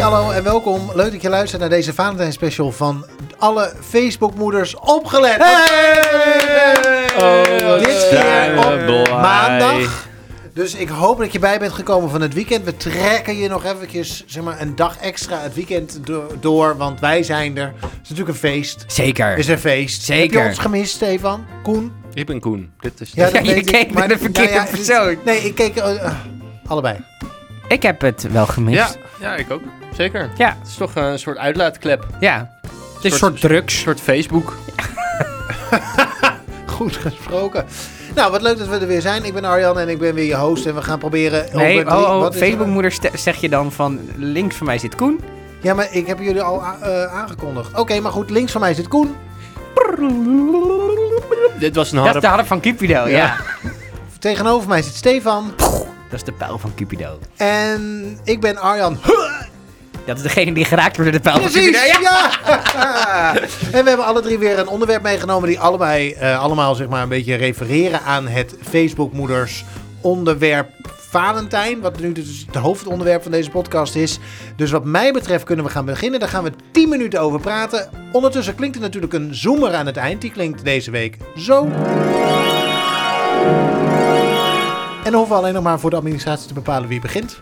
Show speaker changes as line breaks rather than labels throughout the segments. hallo en welkom. Leuk dat je luistert naar deze Valentijn special van alle Facebookmoeders opgelet.
Oh,
Dit keer op
blij.
maandag. Dus ik hoop dat je bij bent gekomen van het weekend. We trekken je nog eventjes zeg maar, een dag extra het weekend do- door, want wij zijn er. Het is natuurlijk een feest.
Zeker.
Het is een feest.
Zeker.
Heb je ons gemist, Stefan? Koen?
Ik ben Koen. Dit is
Ja, je keek naar de verkeerde
dit-
persoon.
Nee, ik keek... eh, eh, allebei.
Ik heb het wel
ja,
gemist.
ja, ik ook. Zeker.
Ja.
Het is toch eh, een soort uitlaatklep. Een
Ja. Het is een soort
Een
drugs.
soort Facebook.
Goed gesproken. Nou, wat leuk dat we er weer zijn. Ik ben Arjan en ik ben weer je host. En we gaan proberen...
Nee,
over
oh,
drie-
oh
wat is er?
Facebookmoeder ste- zeg je dan van links van mij zit Koen.
Ja, maar ik heb jullie al a- eh, aangekondigd. Oké, maar goed. Links van mij zit Koen.
Dit was een
Dat is de
harde...
harp van Cupido, ja.
Ja.
Tegenover mij zit Stefan.
Dat is de pijl van Cupido.
En ik ben Arjan.
Dat is degene die geraakt wordt door de pijl van
Precies!
Cupido. Ja.
Ja! en we hebben alle drie weer een onderwerp meegenomen die allebei, eh, allemaal zeg maar een beetje refereren aan het Facebookmoeders onderwerp Valentijn. Wat nu dus het hoofdonderwerp van deze podcast is. Dus wat mij betreft kunnen we gaan beginnen. Daar gaan we 10 minuten over praten. Ondertussen klinkt er natuurlijk een zoomer aan het eind. Die klinkt deze week zo. En dan hoeven we alleen nog maar voor de administratie te bepalen wie begint.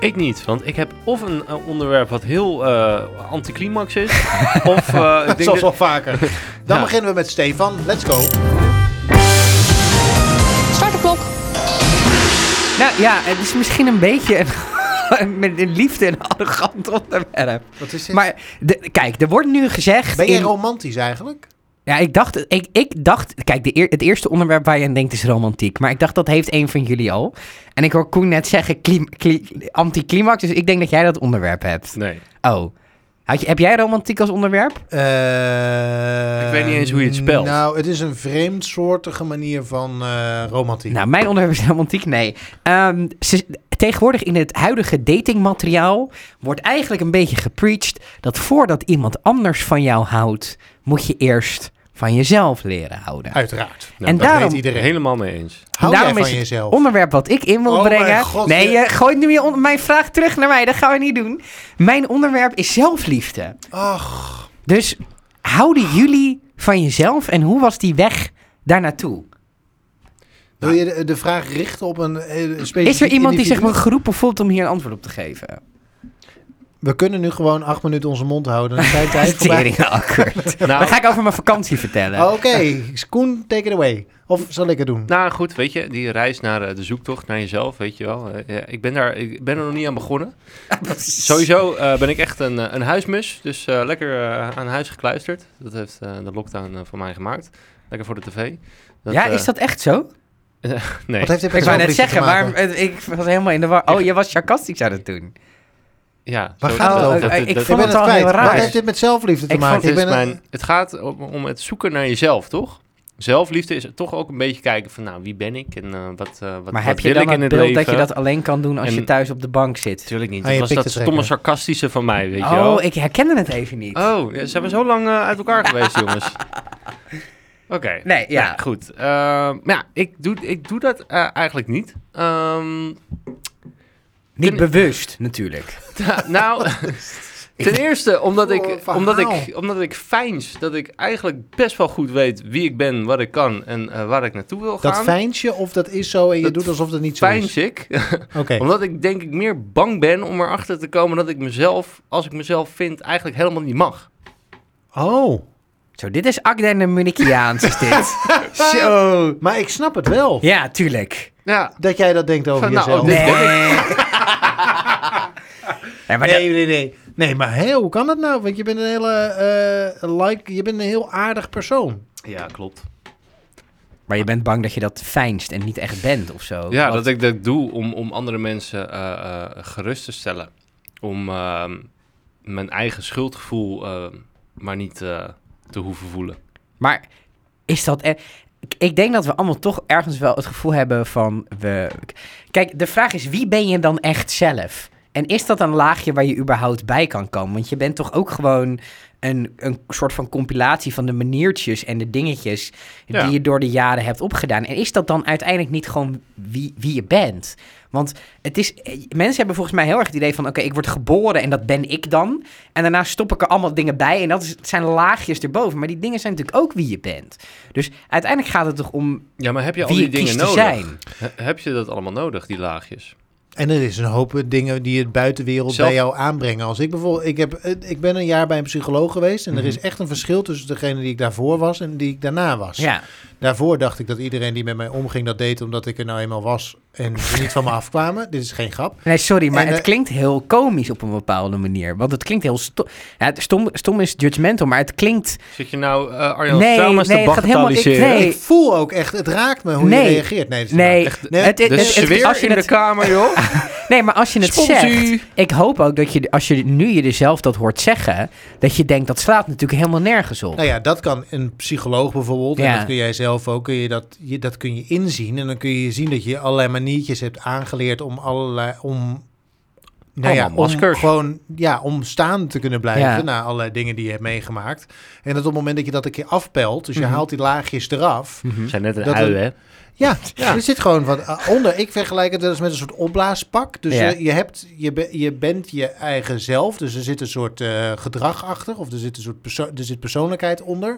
Ik niet, want ik heb of een eh, onderwerp wat heel eh, anticlimax is, of eh, ik denk
Zoals
dat...
al vaker. Dan
Ja.
beginnen we met Stefan. Let's go.
Start de klok.
Nou ja, het is misschien een beetje een, met een liefde en arrogant onderwerp.
Wat is dit?
Maar de- kijk, er wordt nu gezegd...
Ben jij
in-
romantisch eigenlijk?
Ja, ik dacht, ik, ik dacht kijk, de eer- het eerste onderwerp waar je aan denkt is romantiek. Maar ik dacht, dat heeft een van jullie al. En ik hoor Koen net zeggen klim, kli- anticlimax, dus ik denk dat jij dat onderwerp hebt.
Nee.
Oh, Had je, heb jij romantiek als onderwerp?
Ik weet niet eens hoe je het spelt.
Nou, het is een vreemdsoortige manier van eh, romantiek.
Nou, mijn onderwerp is romantiek, nee. Ehm, ze- tegenwoordig in het huidige datingmateriaal wordt eigenlijk een beetje gepreacht... dat voordat iemand anders van jou houdt, moet je eerst van jezelf leren houden.
Uiteraard.
Nou,
en
dat
daarom
weet
Ik ben
iedereen.
helemaal mee eens.
Hou jij
daarom
van
is het
jezelf?
onderwerp wat ik in wil
Oh mijn
brengen.
god,
nee,
je-
je gooit nu je on- mijn vraag terug naar mij. Dat gaan we niet doen. Mijn onderwerp is zelfliefde.
Ach,
Dus houden jullie van jezelf en hoe was die weg daar naartoe?
wil je de, de vraag richten op een eh, specifiek
Is er iemand die zich
individu?
maar geroepen voelt om hier een antwoord op te geven?
We kunnen nu gewoon acht minuten onze mond houden. Dan zijn tijd voorbij.
Tering awkward. Dan ga ik over mijn vakantie vertellen.
Oké, Koen, take it away. Of zal ik het doen?
Nou goed, weet je, die reis naar eh, de zoektocht, naar jezelf, weet je wel. Eh, ja, ik, ben daar, ik ben er nog niet aan begonnen. Sowieso eh, ben ik echt een, eh, een huismus, dus eh, lekker eh, aan huis gekluisterd. Dat heeft eh, de lockdown eh, voor mij gemaakt. Lekker voor de tv.
ja,
eh,
is dat echt zo?
Nee.
Wat heeft dit
Ik
met
wou net
zelfliefde
zeggen,
te maken?
maar eh, ik was helemaal in de war. Oh, je was sarcastisch aan het doen.
Ja,
Waar
zo-
gaat het
dat-
over?
dat-
Ik
dat-
Ik
vond
ben
het
het
al
kwijt.
heel raar.
Wat heeft dit met zelfliefde te
Ik
maken?
vond- dus
Ik
het, is
ben een-
mijn, het gaat om, om het zoeken naar jezelf, toch? Zelfliefde is toch ook een beetje kijken van, nou, wie ben ik en eh, wat, eh wat,
Maar
wat
heb je
wil
dan
ik in
het
het
beeld
leven?
dat je dat alleen kan doen als je
En-
thuis op de bank zit?
Natuurlijk niet.
Ah, je
dat was
pikt
dat
het
stomme
zeker.
sarcastische van mij, weet je wel.
Oh, ik herkende het even niet.
Oh, ja, zijn we zo lang eh, uit elkaar geweest, jongens? Oké.
Nee, ja.
Nou, goed. Ehm, maar ja, ik doe, ik doe dat eh, eigenlijk niet. Ehm,
Niet
Kun-
bewust, natuurlijk.
ta- nou, ten eerste omdat
Voor
ik,
verhaal.
omdat, ik, omdat ik feins dat ik eigenlijk best wel goed weet wie ik ben, wat ik kan en eh, waar ik naartoe wil
Dat
gaan.
fijntje of dat is zo en je
Dat
doet alsof dat niet zo
Feins
is?
ik.
Oké.
Omdat ik denk ik meer bang ben om erachter te komen dat ik mezelf, als ik mezelf vind, eigenlijk helemaal niet mag.
Oh.
Zo, dit is Akden en Munikiaans, is dit. Zo.
Maar ik snap het wel.
Eh, Ja, tuurlijk.
Ja.
Dat jij dat denkt over
Van, nou,
jezelf.
dit ben ik.
Ja, maar
nee, nee, nee. Nee, maar hé, hoe kan dat nou? Want je bent een hele eh, like, je bent een heel aardig persoon.
Ja, klopt.
dat- maar je bent bang dat je dat fijnst en niet echt bent of zo.
Ja,
Wat-
dat ik dat doe om, om andere mensen eh, eh, gerust te stellen. Om ehm, mijn eigen schuldgevoel ehm, maar niet eh, te hoeven voelen.
Maar is dat... e- Ik- Ik denk dat we allemaal toch ergens wel het gevoel hebben van... We... Kijk, de vraag is, wie ben je dan echt zelf? En is dat een laagje waar je überhaupt bij kan komen? Want je bent toch ook gewoon een, een soort van compilatie van de maniertjes en de dingetjes
Ja.
die je door de jaren hebt opgedaan. En is dat dan uiteindelijk niet gewoon wie, wie je bent? Want het is, eh, mensen hebben volgens mij heel erg het idee van: oké, ik word geboren en dat ben ik dan. En daarna stop ik er allemaal dingen bij en dat is, het zijn laagjes erboven. Maar die dingen zijn natuurlijk ook wie je bent. Dus uiteindelijk gaat het toch om
Ja, maar heb je al
wie
die
je
dingen
kiest te
nodig?
zijn.
He- Heb je dat allemaal nodig, die laagjes?
En er is een hoop dingen die het buitenwereld
Zelf-
bij jou aanbrengen. Als ik bijvoorbeeld, ik, heb, eh, ik ben een jaar bij een psycholoog geweest en
Mhm.
er is echt een verschil tussen degene die ik daarvoor was en die ik daarna was.
Ja,
Daarvoor dacht ik dat iedereen die met mij omging dat deed omdat ik er nou eenmaal was en ze niet van me afkwamen. Dit is geen grap.
nee, sorry, maar
En,
het
eh,
klinkt heel komisch op een bepaalde manier. Want het klinkt heel stom. Ja, het stom, stom is judgmental, maar het klinkt.
Zit je nou eh Arjan
Nee,
Selmas
nee,
te
het gaat helemaal- ik-
bagatelliseren?
nee.
Ik voel ook echt, het raakt me hoe je
Nee.
reageert. Nee, dat is niet
Nee,
waar.
nou Echt,
Nee,
het, het,
De
het- het-
sfeer
als je
in
het,
de kamer, joh.
nee, maar als je het
Sponsie.
zegt. Ik hoop ook dat je, als je nu je er zelf dat hoort zeggen, dat je denkt dat slaat natuurlijk helemaal nergens op.
Nou ja, dat kan een psycholoog bijvoorbeeld. En
Ja.
dat kun jij zelf ook. Kun je dat, je, dat kun je inzien. En dan kun je zien dat je allerlei maniertjes hebt aangeleerd om allerlei. Om, nou ja,
Allemaal
om
maskers.
gewoon ja, om staan te kunnen blijven
Ja.
na allerlei dingen die je hebt meegemaakt. En dat op het moment dat je dat een keer afpelt, dus je
Mhm.
haalt die laagjes eraf.
We zijn net een
Dat
ui,
een-
hè?
Ja,
Ja.
er zit gewoon wat eh, onder. Ik vergelijk het wel eens met een soort opblaaspak. Dus
Ja.
eh, je, hebt, je, be- je bent je eigen zelf. Dus er zit een soort eh, gedrag achter. Of er zit een soort perso- er zit persoonlijkheid onder.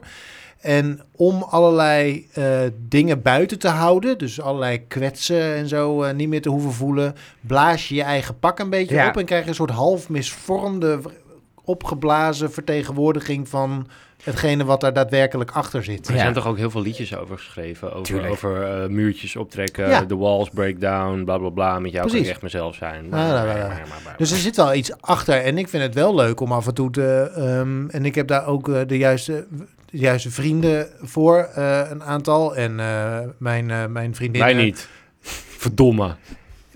En om allerlei eh, dingen buiten te houden, dus allerlei kwetsen en zo eh, niet meer te hoeven voelen, blaas je je eigen pak een beetje
Ja.
op en krijg je een soort half misvormde, opgeblazen vertegenwoordiging van hetgene wat daar daadwerkelijk achter zit.
Er
Ja.
zijn toch ook heel veel liedjes over geschreven. Over,
Tuurlijk.
over eh, muurtjes optrekken,
Ja.
de walls break down, bla bla bla. Met jou kan
Precies.
ik echt mezelf
Ah,
zijn.
Ja,
nou,
ja, ja, ja.
Maar, maar, maar.
Dus er zit wel iets achter. En ik vind het wel leuk om af en toe te. ehm, en ik heb daar ook eh, de, juiste, de juiste vrienden voor, eh, een aantal. En eh, mijn, eh, mijn vriendin.
Wij niet. Verdomme.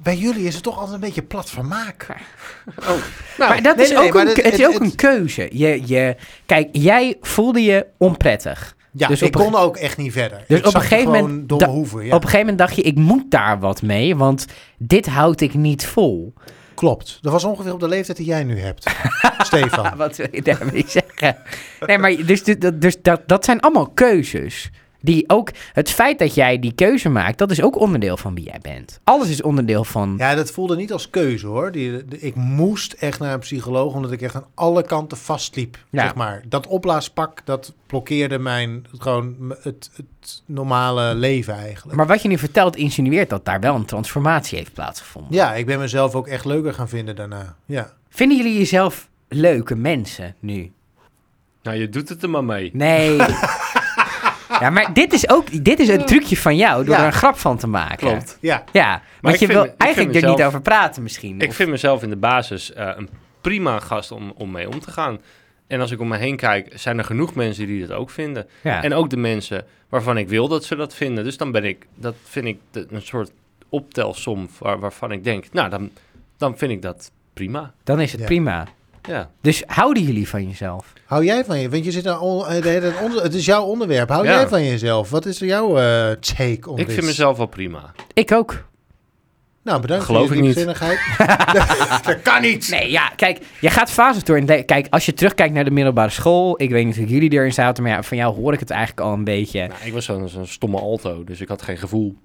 Bij jullie is het toch altijd een beetje plat vermaak.
maar dat
nee,
is
Nou, nee,
ook,
maar
een,
dit-
het is
het-
ook
het-
een keuze. Je, je, kijk, jij voelde je onprettig.
Ja,
Dus
ik
op een
kon ook echt niet verder.
Dus
ik
op een
zakte
gegeven
gewoon
moment
Domme
da-
hoeven.
Op een gegeven moment dacht je, ik moet daar wat mee, want dit houd ik niet vol.
Klopt. Dat was ongeveer op de leeftijd die jij nu hebt, Stefan.
Wat wil je daarmee zeggen? Nee, maar dus, dit- dat- dus dat, dat zijn allemaal keuzes. Die ook, het feit dat jij die keuze maakt, dat is ook onderdeel van wie jij bent. Alles is onderdeel van.
Ja, dat voelde niet als keuze hoor. Die, de- ik moest echt naar een psycholoog omdat ik echt aan alle kanten vastliep.
Ja.
Zeg maar. Dat opblaaspak dat blokkeerde mijn gewoon m- het, het normale leven eigenlijk.
Maar wat je nu vertelt, insinueert dat daar wel een transformatie heeft plaatsgevonden.
Ja, ik ben mezelf ook echt leuker gaan vinden daarna. Ja.
Vinden jullie jezelf leuke mensen nu?
Nou, je doet het er maar mee.
Nee. ja, maar dit is ook dit is een trucje van jou door
Ja.
er een grap van te maken.
Klopt.
Ja.
Ja, want
ik
je
vind
wil
me- ik
eigenlijk
vind
er niet
mezelf-
over praten misschien.
Ik
Of-
vind mezelf in de basis eh, een prima gast om, om mee om te gaan. En als ik om me heen kijk, zijn er genoeg mensen die dat ook vinden.
ja.
En ook de mensen waarvan ik wil dat ze dat vinden. Dus dan ben ik, dat vind ik de- een soort optelsom waar- waarvan ik denk, nou, dan, dan vind ik dat prima.
Dan is het
Ja.
prima.
Ja.
Dus houden jullie van jezelf?
Hou jij van je? Want je zit nou on- eh, de hele tijd onder- het is jouw onderwerp. Hou
Ja.
jij van jezelf? Wat is jouw eh, take on
Ik
this?
vind mezelf wel prima.
Ik ook.
Nou, bedankt
Geloof
voor
ik
je
niet.
diepzinnigheid.
Dat kan niet!
Nee, ja, kijk, je gaat fases door. in het le- Kijk, als je terugkijkt naar de middelbare school, ik weet niet of jullie erin zaten, maar ja, van jou hoor ik het eigenlijk al een beetje.
Nou, ik was zo'n zo'n stomme alto, dus ik had geen gevoel.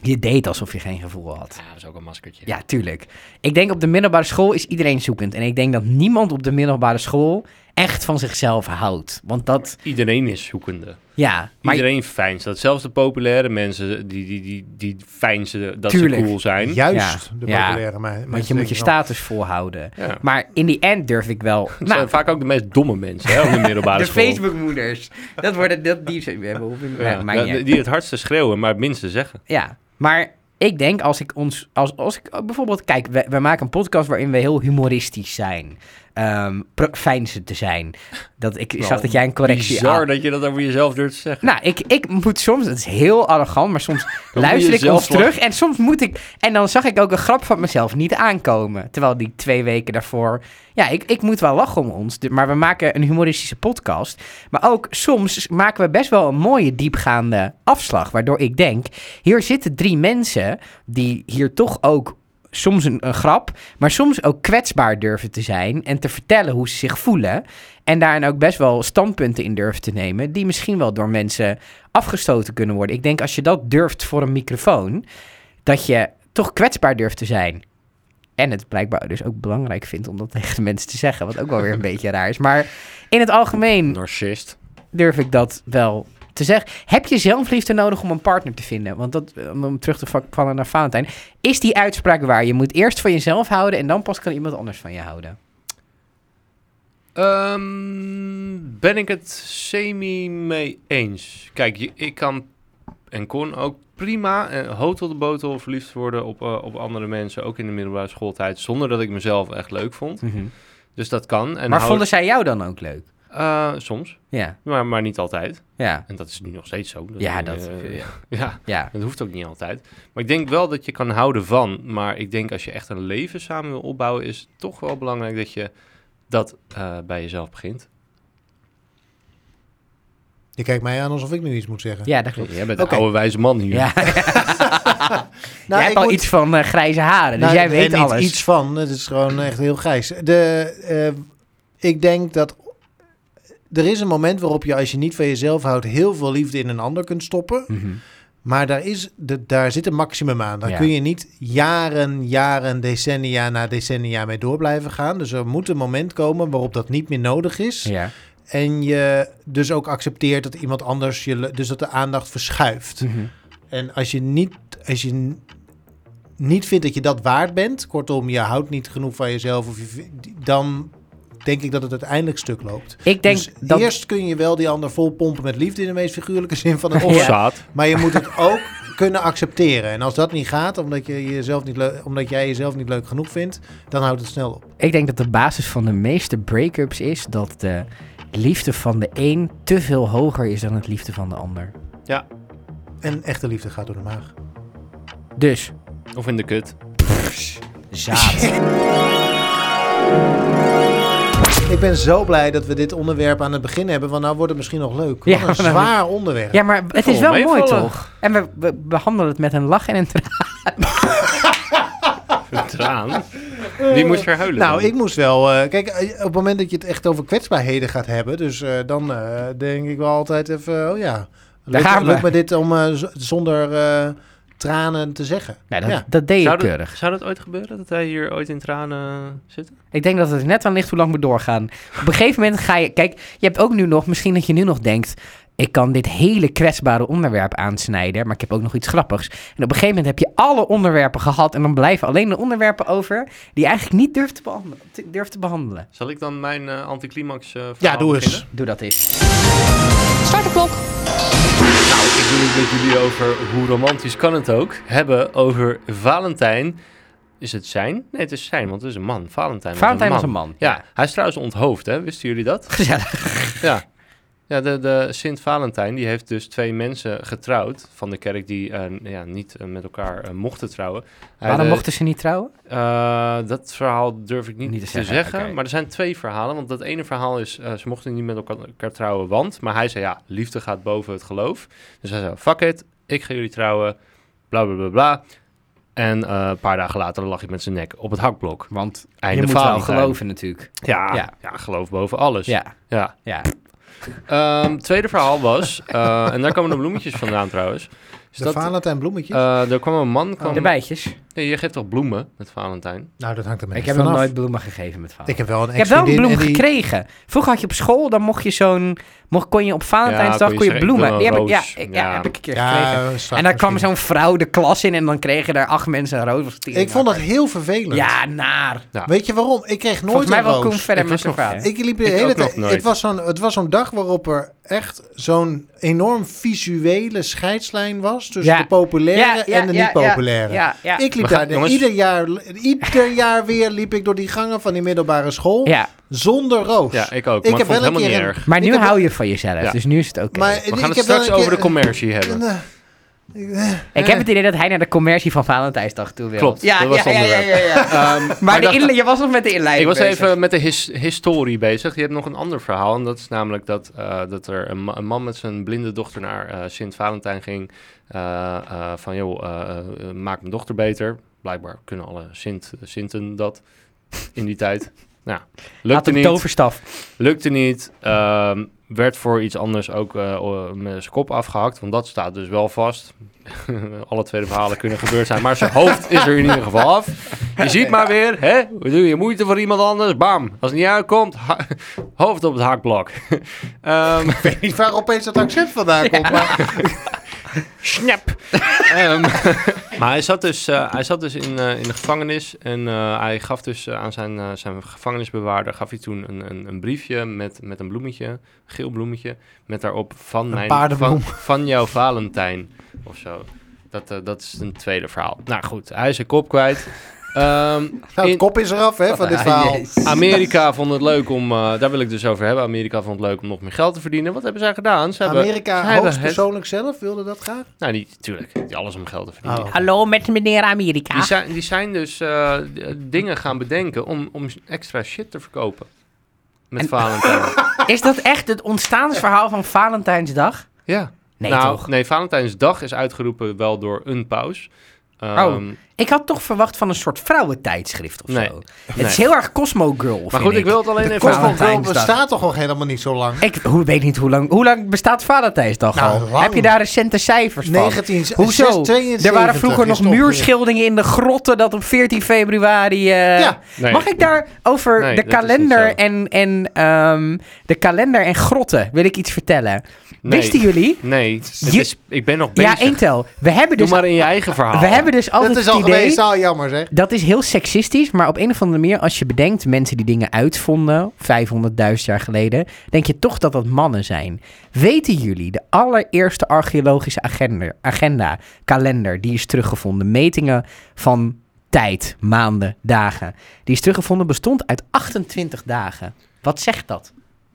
Je deed alsof je geen gevoel had.
Ja, dat is ook een maskertje.
Ja, tuurlijk. Ik denk op de middelbare school is iedereen zoekend. En ik denk dat niemand op de middelbare school echt van zichzelf houdt. Want dat,
Iedereen is zoekende.
ja. Maar
Iedereen fijnst dat. Zelfs de populaire mensen, die, die, die, die fijnsen dat
Tuurlijk.
ze cool zijn.
Juist de
Ja.
populaire me-
want
mensen
je moet je
denken dan,
status volhouden.
Ja. Het
Maar in die end durf ik wel...
zijn
Nou,
vaak ook de meest domme mensen hè, op de middelbare
de
school.
Facebookmoeders. Dat worden... Dat, die we hebben hoeveel...
Ja,
Ja, maakt niet
die-
uit.
die het hardste schreeuwen, maar het minste zeggen.
Ja, maar ik denk als ik ons... Als, als ik ook bijvoorbeeld... Kijk, we, we maken een podcast waarin we heel humoristisch zijn. Ehm pro- fijn te zijn. Dat, ik
Nou,
zag dat jij een correctie
Bizar
aan-
dat je dat over jezelf durft te zeggen.
Nou, ik, ik moet soms, het is heel arrogant, maar soms
je
luister ik
jezelf
ons terug en soms moet ik. En dan zag ik ook een grap van mezelf niet aankomen. Terwijl die twee weken daarvoor. Ja, ik, ik moet wel lachen om ons, d- maar we maken een humoristische podcast. Maar ook soms maken we best wel een mooie diepgaande afslag. Waardoor ik denk, hier zitten drie mensen die hier toch ook soms een, een grap, maar soms ook kwetsbaar durven te zijn en te vertellen hoe ze zich voelen. En daarin ook best wel standpunten in durven te nemen, die misschien wel door mensen afgestoten kunnen worden. Ik denk als je dat durft voor een microfoon, dat je toch kwetsbaar durft te zijn. En het blijkbaar dus ook belangrijk vindt om dat tegen de mensen te zeggen, wat ook wel weer een beetje raar is. Maar in het algemeen
Narcist.
durf ik dat wel te zeggen. Heb je zelfliefde nodig om een partner te vinden? Want dat, om om terug te va- vallen naar Valentijn. Is die uitspraak waar? Je moet eerst van jezelf houden en dan pas kan iemand anders van je houden.
Ehm, ben ik het semi mee eens? Kijk, je- ik kan en kon ook prima eh, hoog tot de botel verliefd worden op, eh, op andere mensen, ook in de middelbare schooltijd, zonder dat ik mezelf echt leuk vond.
Mhm.
Dus dat kan. En
maar
hou-
vonden zij jou dan ook leuk?
Eh, soms,
Ja,
maar, maar niet altijd.
ja,
En dat is nu nog steeds zo.
Ja,
eh,
dat- ja.
ja,
ja.
dat hoeft ook niet altijd. Maar ik denk wel dat je kan houden van. Maar ik denk als je echt een leven samen wil opbouwen, is het toch wel belangrijk dat je dat eh, bij jezelf begint.
oh, Je kijkt mij aan alsof ik nu iets moet zeggen.
Ja, dat klopt.
Jij bent
Oké.
een oude wijze man hier.
Ja.
Nou,
jij
ik
hebt al
moet-
iets van eh, grijze haren, dus
Nou,
jij
ik
weet
weet niet
alles.
iets van. Het is gewoon echt heel grijs. De, eh, ik denk dat er is een moment waarop je, als je niet van jezelf houdt, heel veel liefde in een ander kunt stoppen.
Mhm.
Maar daar, is de, daar zit een maximum aan. Daar
Ja.
kun je niet jaren, jaren, decennia na decennia mee door blijven gaan. Dus er moet een moment komen waarop dat niet meer nodig is.
Ja.
En je dus ook accepteert dat iemand anders je. le- Dus dat de aandacht verschuift.
Mhm.
En als je niet, als je n- niet vindt dat je dat waard bent, kortom, je houdt niet genoeg van jezelf, of je, vi- dan denk ik dat het uiteindelijk stuk loopt.
Ik denk
Dus
dat...
eerst kun je wel die ander vol pompen met liefde in de meest figuurlijke zin van het
Of
woord.
zaad.
Maar je moet het ook kunnen accepteren. En als dat niet gaat, omdat, je jezelf niet leu- omdat jij jezelf niet leuk genoeg vindt, dan houdt het snel op.
Ik denk dat de basis van de meeste break-ups is dat de liefde van de een te veel hoger is dan het liefde van de ander.
En echte liefde gaat door de maag.
Dus,
Of in de kut.
zaad.
Ik ben zo blij dat we dit onderwerp aan het begin hebben, want nou wordt het misschien nog leuk. Wat
Ja,
een
nou,
zwaar onderwerp.
ja, maar het is
Oh,
wel mooi
meevallen.
toch? En we, we behandelen het met een lach en een traan.
Een traan. Wie moest er huilen?
Nou,
dan?
ik moest wel. eh, kijk, eh, op het moment dat je het echt over kwetsbaarheden gaat hebben, dus eh, dan eh, denk ik wel altijd even, oh ja, leuk,
gaan we.
leuk met dit om eh, z- zonder eh, tranen te zeggen.
Nou, dat,
Ja.
dat deed
zou,
ik keurig.
dat, zou dat ooit gebeuren? Dat wij hier ooit in tranen zitten?
Ik denk dat het er net aan ligt hoe lang we doorgaan. Op een gegeven moment ga je... Kijk, je hebt ook nu nog... Misschien dat je nu nog denkt... Ik kan dit hele kwetsbare onderwerp aansnijden, maar ik heb ook nog iets grappigs. En op een gegeven moment heb je alle onderwerpen gehad en dan blijven alleen de onderwerpen over die je eigenlijk niet durft te, behandelen- te- durft te behandelen.
Zal ik dan mijn eh, anticlimax eh
Ja,
verhaal
doe
beginnen?
eens.
Doe dat eens.
Start de klok.
Nou, ik wil het met jullie over hoe romantisch kan het ook hebben over Valentijn. Is het zijn? Nee, het is zijn, want het is een man. Valentijn, was
Valentijn
een
was
man.
een man.
Ja, hij is trouwens onthoofd, hè? Wisten jullie dat?
Gezellig.
Ja. Ja, de, de Sint Valentijn die heeft dus twee mensen getrouwd van de kerk die eh, ja, niet eh, met elkaar eh, mochten trouwen. Hij
Waarom
de-
mochten ze niet trouwen?
eh, dat verhaal durf ik niet, te zeggen.
oké.
Maar er zijn twee verhalen. Want dat ene verhaal is, eh, ze mochten niet met elkaar, elkaar trouwen, want... Maar hij zei, ja, liefde gaat boven het geloof. Dus hij zei, fuck it, ik ga jullie trouwen, bla, bla, bla, bla. En eh, een paar dagen later lag ik met zijn nek op het hakblok.
Want
Einde
je moet wel
Valentijn.
geloven natuurlijk.
Ja,
Ja.
ja. geloof boven alles.
Ja,
ja.
ja.
Ehm, tweede verhaal was, eh, en daar komen de bloemetjes vandaan trouwens. Is
De
dat,
Valentijn bloemetjes?
eh, er kwam een man... Kwam,
De bijtjes.
nee, je geeft toch bloemen met Valentijn?
nou, dat hangt er
Ik
mee
heb
vanaf.
nog nooit bloemen gegeven met
Ik
Valentijn.
heb wel een
Ik heb wel een bloem
ex-vriendin en die-
gekregen. Vroeger had je op school, dan mocht je zo'n... Mocht, kon je op Valentijnsdag
Ja,
kon
kon je
je, bloemen.
zeggen,
Die
ik
heb ik,
wil een
ja,
roos.
ik, ja,
Ja.
heb ik een keer gekregen.
Ja,
en dan kwam zo'n vrouw de klas in en dan kregen er acht mensen een roos. Was tering
Ik vond dat
naar.
heel vervelend.
Ja, naar.
Weet je waarom? Ik kreeg nooit
Volgens mij
een
wel
roos.
Koen verder
Ik
met
was
zijn
nog-
verhaal.
Ik liep de
Ik
hele
ook nog
tijd.
nooit.
Het was zo'n het was zo'n dag waarop er echt zo'n enorm visuele scheidslijn was tussen
Ja.
de populaire
Ja, ja,
en de
ja,
niet populaire.
Ja, ja.
Ik liep
We gaan-
daar de-
jongens.
ieder jaar, ieder jaar weer liep ik door die gangen van die middelbare school
ja.
zonder roos.
Ja, ik ook.
Ik
maar
heb
ik vond het
wel een
helemaal niet
keer een-
erg.
Maar
Ik
nu
heb-
hou je van jezelf,
Ja.
dus nu is het oké.
Maar
We gaan
ik
het
heb wel
straks
een keer
over de
een-
commercie hebben.
En, eh, ik- eh,
Ik heb het idee dat hij naar de commercie van Valentijnsdag toe wil.
Klopt,
ja,
dat was het
ja, ja, ja, ja,
onderwerp.
ja.
Ehm,
Maar de
dat-
inle- je was nog met de
ik
inleiding
was
bezig.
even met de his- historie bezig. Je hebt nog een ander verhaal. En dat is namelijk dat, eh, dat er een, ma- een man met zijn blinde dochter naar eh, Sint Valentijn ging. eh, eh, van joh, eh, eh, maak eh, mijn dochter beter. blijkbaar kunnen alle Sint, Sinten dat in die tijd. Nou,
Laat
lukte
een
niet.
toverstaf.
Lukte niet. Ehm, werd voor iets anders ook eh, o- met zijn kop afgehakt. Want dat staat dus wel vast. Alle tweede verhalen kunnen gebeurd zijn. Maar zijn hoofd is er in ieder geval af. Je ziet maar weer. Hè? We doen je moeite voor iemand anders. Bam. Als het niet uitkomt. ha- hoofd op het hakblok. Ehm
Ik weet niet waar opeens dat accent vandaan komt. Maar
Snap. Ehm, maar hij zat dus, eh, hij zat dus in, eh, in de gevangenis. En eh, hij gaf dus eh, aan zijn, eh, zijn gevangenisbewaarder gaf hij toen een, een, een briefje met, met een bloemetje. Geel bloemetje. Met daarop van, mijn,
paardenbloem.
van, van jouw Valentijn. Of zo. Dat, eh, dat is een tweede verhaal. Nou goed, hij is zijn kop kwijt. Ehm,
nou, het
in-
kop is eraf hè,
Ah,
van dit verhaal.
Amerika vond het leuk om, eh, daar wil ik dus over hebben. Amerika vond het leuk om nog meer geld te verdienen. Wat hebben zij gedaan? Ze hebben,
Amerika
ze hebben het-
hoogstpersoonlijk zelf wilde dat graag.
Nou, niet, tuurlijk. niet Alles om geld te verdienen.
Oh.
Hallo met meneer Amerika.
Die zijn, die zijn dus eh, d- eh, dingen gaan bedenken om, om extra shit te verkopen. Met
En-
Valentijn.
Is dat echt het ontstaansverhaal van Valentijnsdag?
ja.
Nee,
nou,
toch?
nee, Valentijnsdag is uitgeroepen wel door een paus.
Oh,
Ehm,
Ik had toch verwacht van een soort vrouwentijdschrift of
Nee.
zo. Het
Nee.
is heel erg Cosmo Girl.
Maar
vind
goed, ik wil het alleen even...
Cosmo-
Cosmo Girl
Valentijnsdag.
bestaat toch nog helemaal niet zo lang?
Ik hoe, weet niet hoe lang. Hoe lang bestaat Valentijnsdag
Nou,
al?
lang.
Heb je daar recente cijfers van?
19,
Hoezo?
72
Er waren vroeger
is
nog
toch weer-
muurschilderingen in de grotten dat op 14 februari. eh,
Ja.
Nee.
Mag ik daar over
Nee,
de
dat is niet zo.
kalender en, en ehm, de kalender en grotten wil ik iets vertellen?
Nee.
Wisten jullie?
Nee, het
Je-
is, ik ben nog
Ja,
bezig.
één tel. We
Doe
hebben dus,
maar in je eigen verhaal.
we hebben dus altijd
Dat is al
het idee.
geweest, al jammer zeg.
Dat is heel seksistisch, maar op een of andere manier, als je bedenkt mensen die dingen uitvonden, 500.000 jaar geleden, denk je toch dat dat mannen zijn. Weten jullie, de allereerste archeologische agenda, agenda kalender, die is teruggevonden, metingen van tijd, maanden, dagen, die is teruggevonden, bestond uit 28 dagen. Wat zegt dat?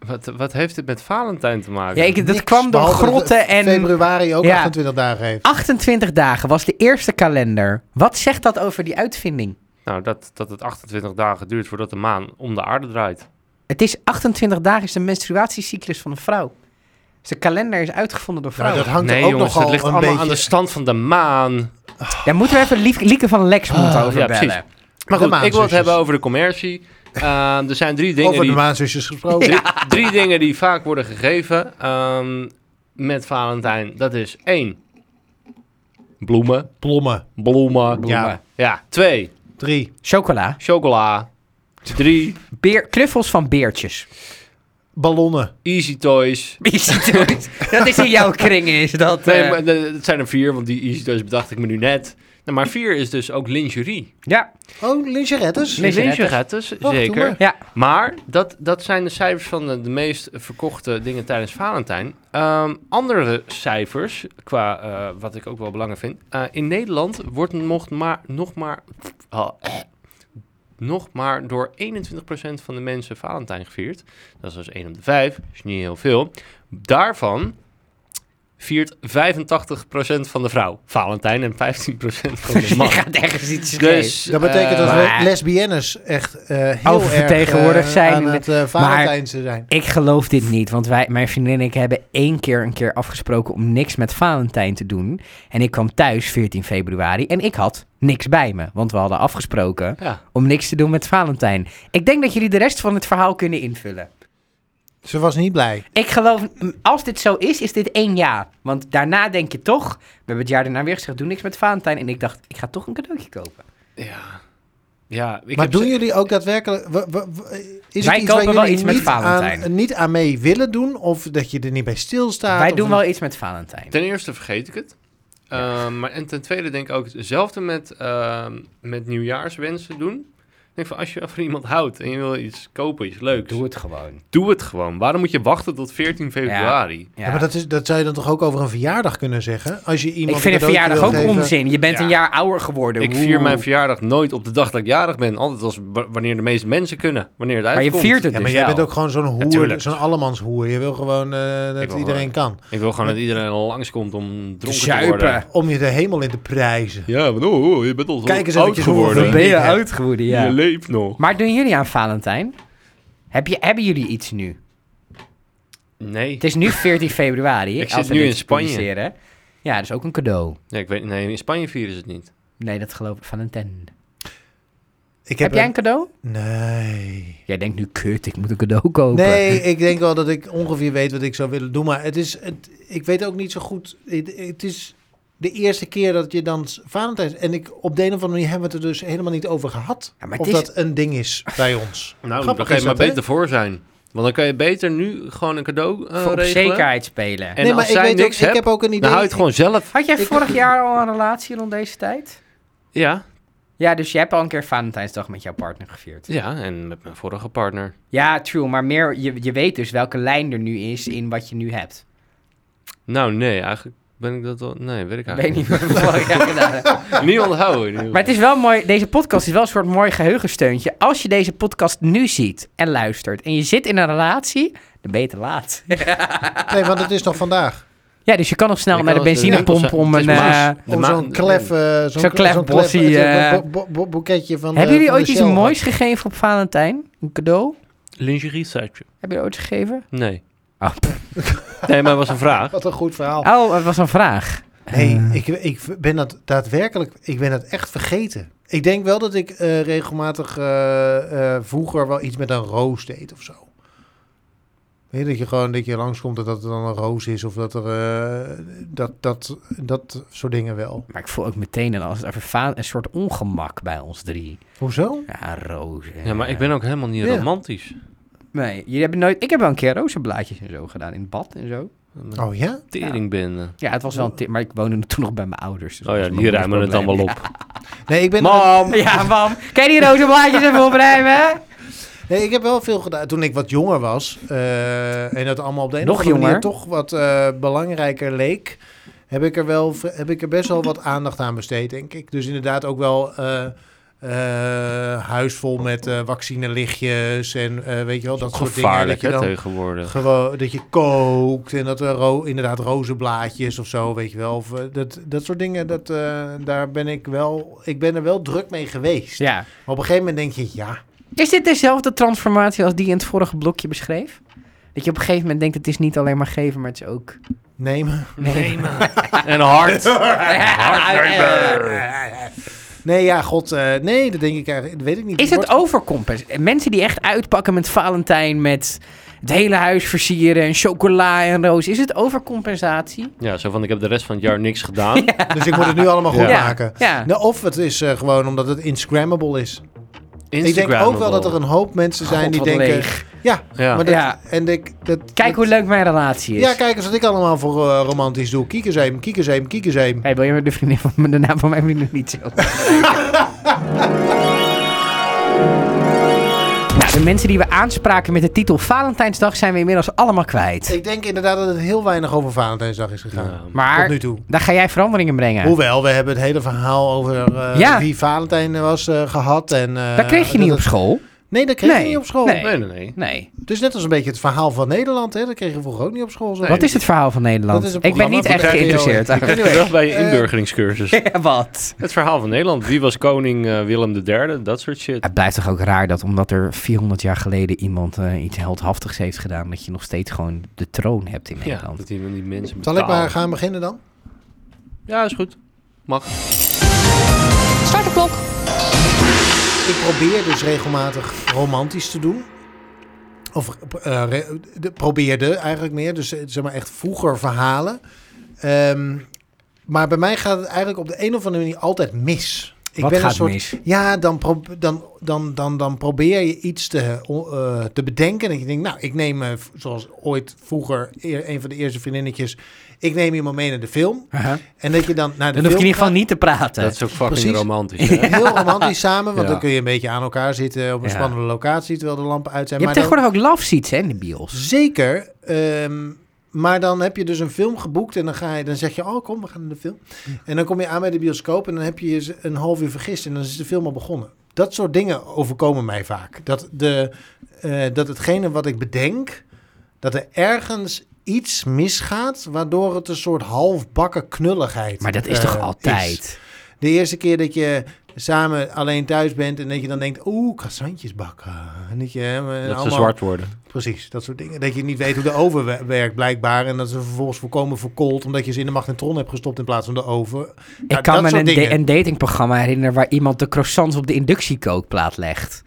Wat, wat heeft het met Valentijn te maken?
Ja, ik, dat
Niks,
kwam door
behalve dat
grotten
het
en...
Februari ook
Ja.
28 dagen heeft.
28 dagen was de eerste kalender. Wat zegt dat over die uitvinding?
Nou, dat, dat het 28 dagen duurt voordat de maan om de aarde draait.
Het is 28 dagen is de menstruatiecyclus van een vrouw. Dus de kalender is uitgevonden door
Nou,
vrouwen.
dat hangt
nee,
er ook
jongens,
nogal
het ligt
een
allemaal
beetje...
aan de stand van de maan.
Daar moeten we even Lief- Lieke van Lexmond
Ah,
over
ja,
bellen.
precies. Maar
De
goed, ik wil het
maanzusjes.
hebben over de commercie. Ehm, er zijn drie dingen,
Over de
die,
maanzusjes gesproken.
drie, drie dingen die vaak worden gegeven ehm, met Valentijn. Dat is één, bloemen.
Plommen.
Bloemen.
Ja.
Bloemen.
Ja. Twee,
Drie.
Chocola.
chocola. Drie,
Beer, knuffels van beertjes.
Ballonnen.
easy toys.
Je ziet het. dat is in jouw kring, is dat.
Nee,
eh,
maar de- het zijn er vier, want die easy toys bedacht ik me nu net. Nou, maar vier is dus ook lingerie.
Ja,
Oh, lingerettes.
Nee. Lingerie.
Lingerettes,
doe maar.
zeker.
ja.
Maar dat, dat zijn de cijfers van de, de meest verkochte dingen tijdens Valentijn. Ehm, andere cijfers, qua eh, wat ik ook wel belangrijk vind. Eh, in Nederland wordt nog maar, nog, maar, ah, eh, nog maar door 21% van de mensen Valentijn gevierd. Dat is dus 1 op de 5, is niet heel veel. Daarvan viert 85% van de vrouw Valentijn en 15% van de
Je
man.
gaat ergens iets schrijven.
Dus,
Dat betekent dat
eh,
we
maar-
lesbiennes echt eh, heel
Oververtegenwoordigd
erg, eh,
zijn
aan
in de-
het eh, Valentijnse zijn.
Ik geloof dit niet, want wij, mijn vriendin en ik hebben één keer een keer afgesproken om niks met Valentijn te doen. En ik kwam thuis 14 februari en ik had niks bij me, want we hadden afgesproken
eh, ja.
om niks te doen met Valentijn. Ik denk dat jullie de rest van het verhaal kunnen invullen.
Ze was niet blij.
Ik geloof, m, als dit zo is, is dit één jaar. Want daarna denk je toch, we hebben het jaar daarna weer gezegd, doe niks met Valentijn. En ik dacht, ik ga toch een cadeautje kopen.
Ja. Ja, ik
maar
heb
doen
ze-
jullie ook daadwerkelijk... w- w- w- is
Wij
het iets waar
kopen wel
jullie
iets met
niet
Valentijn.
Aan, niet aan mee willen doen? Of dat je er niet bij stilstaat?
Wij
of
doen
een-
wel iets met Valentijn.
Ten eerste vergeet ik het. Ehm, maar, en ten tweede denk ik ook hetzelfde met, ehm, met nieuwjaarswensen doen. Ik denk van, als je van iemand houdt en je wil iets kopen, iets leuks,
Doe
doe het,
het gewoon.
gewoon. Waarom moet je wachten tot 14 februari?
Ja, maar dat, is, dat zou je dan toch ook over een verjaardag kunnen zeggen? Als je
ik
iemand
vind een
een cadeautje
verjaardag
wil
ook
geven.
onzin. Je bent
Ja.
een jaar ouder geworden.
Ik vier
Oeh.
mijn verjaardag nooit op de dag dat ik jarig ben. Altijd als wa- wanneer de meeste mensen kunnen, wanneer het
Maar je
uitkomt.
viert het
Ja,
dus
maar jij
wel.
bent ook gewoon zo'n hoer,
tuurlijk.
zo'n allemanshoer. Je wil gewoon eh, dat
Ik wil
iedereen kan.
Ik wil gewoon dat iedereen langskomt om dronken te,
zuipen.
worden.
Om je de hemel in te prijzen.
Ja, maar oh, oh, je bent al zo
Kijk eens
oud
eventjes hoe we
geworden.
verbe-
ben je
Ja.
oud geworden, ja.
Je leeft nog.
Maar doen jullie aan Valentijn? Heb je, hebben jullie iets nu?
Nee.
Het is nu 14 februari.
Ik
als
zit
we
nu
dit
in Spanje.
publiceren. Ja, dat is ook een cadeau.
nee, ik weet, nee, in Spanje vieren ze het niet.
Nee, dat geloof ik. Valentijn.
Ik
Heb jij een cadeau?
Nee.
Jij denkt nu, kut, ik moet een cadeau kopen.
Nee, ik denk wel dat ik ongeveer weet wat ik zou willen doen. Maar het is, het, ik weet ook niet zo goed. Het, het is de eerste keer dat je dan s- Valentijns... En ik, op de een of andere manier hebben we het er dus helemaal niet over gehad.
Ja, maar het
of
is-
dat een ding is bij ons.
Nou,
Grappig
daar kan je
is
maar
dat, hè?
beter voor zijn. Want dan kan je beter nu gewoon een cadeau eh,
Voor op
regelen.
zekerheid spelen.
En als zij
ik,
niks
ook, ik
hebt,
heb ook een idee.
Dan hou je het gewoon zelf.
Had jij
Ik-
vorig jaar al een relatie rond deze tijd?
Ja,
Ja, dus je hebt al een keer Valentijnsdag met jouw partner gevierd.
ja en met mijn vorige partner.
Ja, true, maar meer, je, je weet dus welke lijn er nu is in wat je nu hebt.
Nou, nee, eigenlijk ben ik dat wel... Nee, weet ik
Ik weet
eigenlijk
niet wat we vorig jaar gedaan hebben.
niet. Niet onthouden. in ieder geval.
Maar het is wel mooi, deze podcast is wel een soort mooi geheugensteuntje. Als je deze podcast nu ziet en luistert en je zit in een relatie, dan ben je te laat.
Nee, want het is nog vandaag.
Ja, dus je kan nog snel
Je
naar de
kan als de-
benzinepomp om
Het
een...
is Maas.
eh,
De
Om
ma-
zo'n klef... eh, zo'n
Zo'n
kle- zo'n
klefbossie,
klef-
eh.
bo- bo- bo- boeketje van
hebben
eh,
jullie
van
ooit
de
iets
Shell.
moois gegeven op Valentijn? Een cadeau?
Lingerie setje.
Heb je dat ooit gegeven?
Nee.
Oh.
Nee, maar dat was een vraag.
Wat een goed verhaal.
Oh, het was een vraag.
Nee, ik, ik ben dat daadwerkelijk, ik ben dat echt vergeten. Ik denk wel dat ik eh, regelmatig eh, eh, vroeger wel iets met een roos deed of zo. Weet je, dat je gewoon dat je langskomt en dat er dan een roos is of dat er eh, dat, dat, dat soort dingen wel.
Maar ik voel ook meteen een, als het over va- een soort ongemak bij ons drie.
Hoezo?
Ja, rozen.
Ja, maar ik ben ook helemaal niet
Ja.
romantisch.
Nee, jullie hebben nooit... Ik heb wel een keer rozenblaadjes en zo gedaan in het bad en zo.
Oh ja?
Teringbinden.
Ja, het was wel een tip, maar ik woonde toen nog bij mijn ouders. dus
Oh
dat
ja,
was
die
mijn
ruimen het
probleem.
dan wel op.
Nee, ik ben
Mam!
Ja, mam. Kan je die rozenblaadjes even opruimen?
Nee, ik heb wel veel gedaan. Toen ik wat jonger was eh, en dat allemaal op de een
Nog
of andere manier
jonger?
toch wat eh, belangrijker leek, heb ik er wel, heb ik er best wel wat aandacht aan besteed, denk ik. Dus inderdaad ook wel eh eh, huis vol met eh vaccinelichtjes en eh, weet je wel, dat soort dingen.
Gevaarlijk
Dat je dan
hè, tegenwoordig.
gewoon dat je kookt en dat er ro inderdaad rozenblaadjes of zo, weet je wel. Of, eh, dat, dat soort dingen, dat, eh, daar ben ik wel, ik ben er wel druk mee geweest.
Ja.
Maar op een gegeven moment denk je, ja,
Is dit dezelfde transformatie als die in het vorige blokje beschreef? Dat je op een gegeven moment denkt, het is niet alleen maar geven, maar het is ook...
nemen.
Nemen.
En hard.
Nee, ja, god. eh, nee, dat denk ik eigenlijk. Dat weet ik niet.
Is het
Wordt-
overcompens? Mensen die echt uitpakken met Valentijn, met het hele huis versieren en chocola en roos. Is het overcompensatie?
Ja, zo van ik heb de rest van het jaar niks gedaan.
Dus ik moet het nu allemaal goed
Ja.
maken.
Ja.
Nou, of het is eh, gewoon omdat het Instagrammable is. Ik denk
Instagram
ook wel dat er een hoop mensen zijn
God,
die
wat
denken.
leeg.
Ja,
Ja.
maar dat,
Ja.
en ik, dat,
Kijk
dat-
hoe leuk mijn relatie is.
Ja, kijk eens wat ik allemaal voor eh, romantisch doe. Kiekers heen, kiekers heen, kiekers heen.
Hey, wil je me de, vriendin van, de naam van mijn vriendin niet zo? nou, de mensen die we aanspraken met de titel Valentijnsdag zijn we inmiddels allemaal kwijt.
Ik denk inderdaad dat het heel weinig over Valentijnsdag is gegaan.
Ja.
Tot
Maar
nu toe.
daar ga jij veranderingen brengen.
Hoewel, we hebben het hele verhaal over eh,
Ja.
wie Valentijn was eh, gehad. En, eh,
dat kreeg je niet
dat-
op school.
Nee, dat kreeg
Nee.
je niet op school.
Nee.
Nee, nee, nee.
Nee.
Het is net als een beetje het verhaal van Nederland. Hè? Dat kregen we vroeger ook niet op school. zo.
Wat is het verhaal van Nederland?
Dat is een
ik ben
programma
niet
voor
echt
de radio.
geïnteresseerd.
Terug bij je
Eh,
inburgeringscursus.
Ja, Wat?
Het verhaal van Nederland. Wie was koning eh, Willem III? Dat soort shit.
Het blijft toch ook raar dat omdat er 400 jaar geleden iemand eh, iets heldhaftigs heeft gedaan, dat je nog steeds gewoon de troon hebt in
Ja,
Nederland.
dat die, die mensen
Zal ik
betalen.
maar gaan beginnen dan?
Ja, is goed. Mag.
Start de klok.
Ik probeer dus regelmatig romantisch te doen. Of eh, re- de- probeerde eigenlijk meer. Dus eh, zeg maar echt vroeger verhalen. Ehm, maar bij mij gaat het eigenlijk op de een of andere manier altijd mis. Ik
Wat
ben
gaat
een soort,
mis?
Ja, dan, pro- dan, dan, dan, dan probeer je iets te, eh, te bedenken. En je denkt, nou, ik neem, eh, v- zoals ooit vroeger, eer- een van de eerste vriendinnetjes. Ik neem iemand mee naar de film.
Aha.
En dat je dan naar de
Dan hoef je
film
in ieder geval
gaat.
niet te praten.
Dat is ook fucking
Precies.
romantisch. hè?
Heel romantisch samen, want
Ja.
dan kun je een beetje aan elkaar zitten op een
Ja.
spannende locatie terwijl de lampen uit zijn.
Je hebt
maar dan-
tegenwoordig ook love seats hè, in de bios.
zeker, ehm, maar dan heb je dus een film geboekt en dan, ga je, dan zeg je, oh kom, we gaan naar de film. En dan kom je aan bij de bioscoop en dan heb je je z- een half uur vergist en dan is de film al begonnen. Dat soort dingen overkomen mij vaak. Dat, de, eh, dat hetgene wat ik bedenk, dat er ergens iets misgaat, waardoor het een soort halfbakken knulligheid
Maar dat is
eh,
toch altijd?
De eerste keer dat je samen alleen thuis bent en dat je dan denkt, oeh, croissantjes bakken. En dat je hè, maar
Dat ze
allemaal-
zwart worden.
Precies, dat soort dingen. Dat je niet weet hoe de oven we- werkt blijkbaar en dat ze vervolgens voorkomen verkoold omdat je ze in de magnetron hebt gestopt in plaats van de oven.
Ik
Ja,
kan
dat
me
soort
een, da-
dingen.
een datingprogramma herinneren waar iemand de croissants op de inductiekookplaat legt.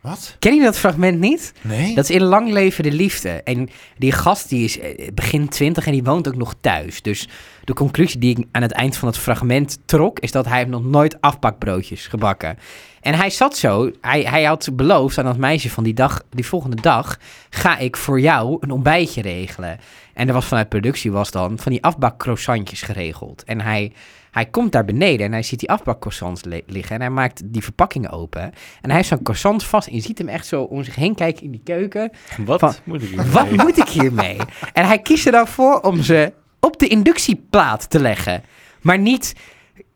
Wat?
Ken je dat fragment niet?
Nee?
Dat is in Lang Leven de Liefde. En die gast die is eh, begin twintig en die woont ook nog thuis. Dus de conclusie die ik aan het eind van het fragment trok... is dat hij heeft nog nooit afbakbroodjes gebakken. En hij zat zo. Hij, hij had beloofd aan dat meisje van die, dag, die volgende dag... ga ik voor jou een ontbijtje regelen. En er was vanuit productie was dan van die afbakcroissantjes geregeld. En hij... Hij komt daar beneden en hij ziet die afbakcroissants le- liggen. En hij maakt die verpakking open. En hij heeft zo'n croissant vast. En je ziet hem echt zo om zich heen kijken in die keuken.
Wat
Van-
moet ik hier
Wat
mee?
moet ik hiermee? En hij kiest er dan voor om ze op de inductieplaat te leggen. Maar niet...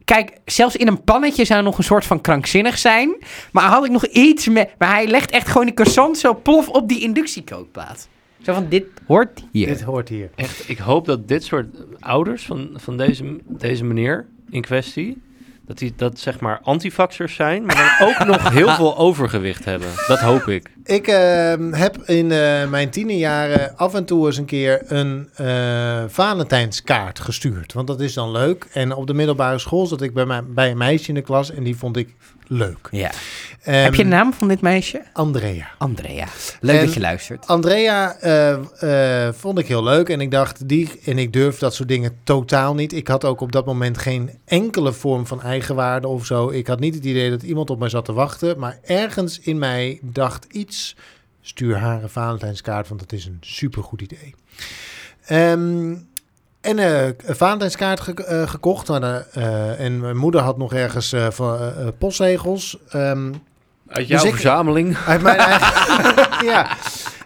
Kijk, zelfs in een pannetje zou nog een soort van krankzinnig zijn. Maar had ik nog iets met... Maar hij legt echt gewoon die croissant zo plof op die inductiekookplaat. Zo van, dit hoort hier.
Dit hoort hier.
Echt, ik hoop dat dit soort ouders van, van deze, deze meneer in kwestie... dat die dat zeg maar antifaxers zijn... maar dan ook nog heel veel overgewicht hebben. Dat hoop ik.
Ik ehm, heb in eh, mijn tienerjaren af en toe eens een keer een eh, Valentijnskaart gestuurd. Want dat is dan leuk. En op de middelbare school zat ik bij, mij, bij een meisje in de klas en die vond ik leuk.
Ja.
Ehm,
Heb je de naam van dit meisje?
Andrea.
Andrea. Leuk
En-
dat je luistert.
Andrea eh, eh, vond ik heel leuk en ik dacht, die en ik durf dat soort dingen totaal niet. Ik had ook op dat moment geen enkele vorm van eigenwaarde of zo. Ik had niet het idee dat iemand op mij zat te wachten, maar ergens in mij dacht iets, stuur haar een Valentijnskaart, want dat is een supergoed idee. Ehm, en eh, een Valentijnskaart ge- eh, gekocht. Maar, de- eh, en mijn moeder had nog ergens eh, van, eh, eh, postzegels. Ehm,
Uit jouw
Dus ik-
verzameling.
uit mijn eigen... ja.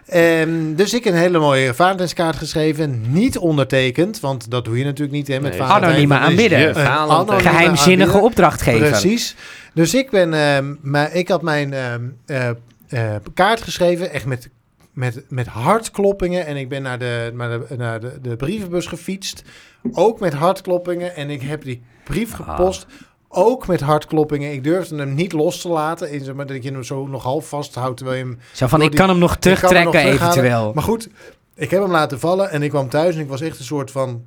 Ehm, dus ik een hele mooie Valentijnskaart geschreven. Niet ondertekend, want dat doe je natuurlijk niet hè, met
Nee.
Valentijn.
Anonieme
Dat is
aanbidder.
een
Eh, Valentijn.
anonieme
Geheimzinnige
aanbidder.
opdracht geven.
nou, Precies. Dus ik, ben, ehm, maar ik had mijn ehm, eh, eh, kaart geschreven, echt met, met, met hartkloppingen. En ik ben naar, de, naar, de, naar de, de brievenbus gefietst, ook met hartkloppingen. En ik heb die brief gepost, ook met hartkloppingen. Ik durfde hem niet los te laten, in, zeg maar, dat je hem zo nog half vasthoudt terwijl je hem
Zo
Door
van, ik
Oh, die-
kan hem nog
ik kan hem nog
terugtrekken
terughalen.
eventueel.
Maar goed, ik heb hem laten vallen en ik kwam thuis en ik was echt een soort van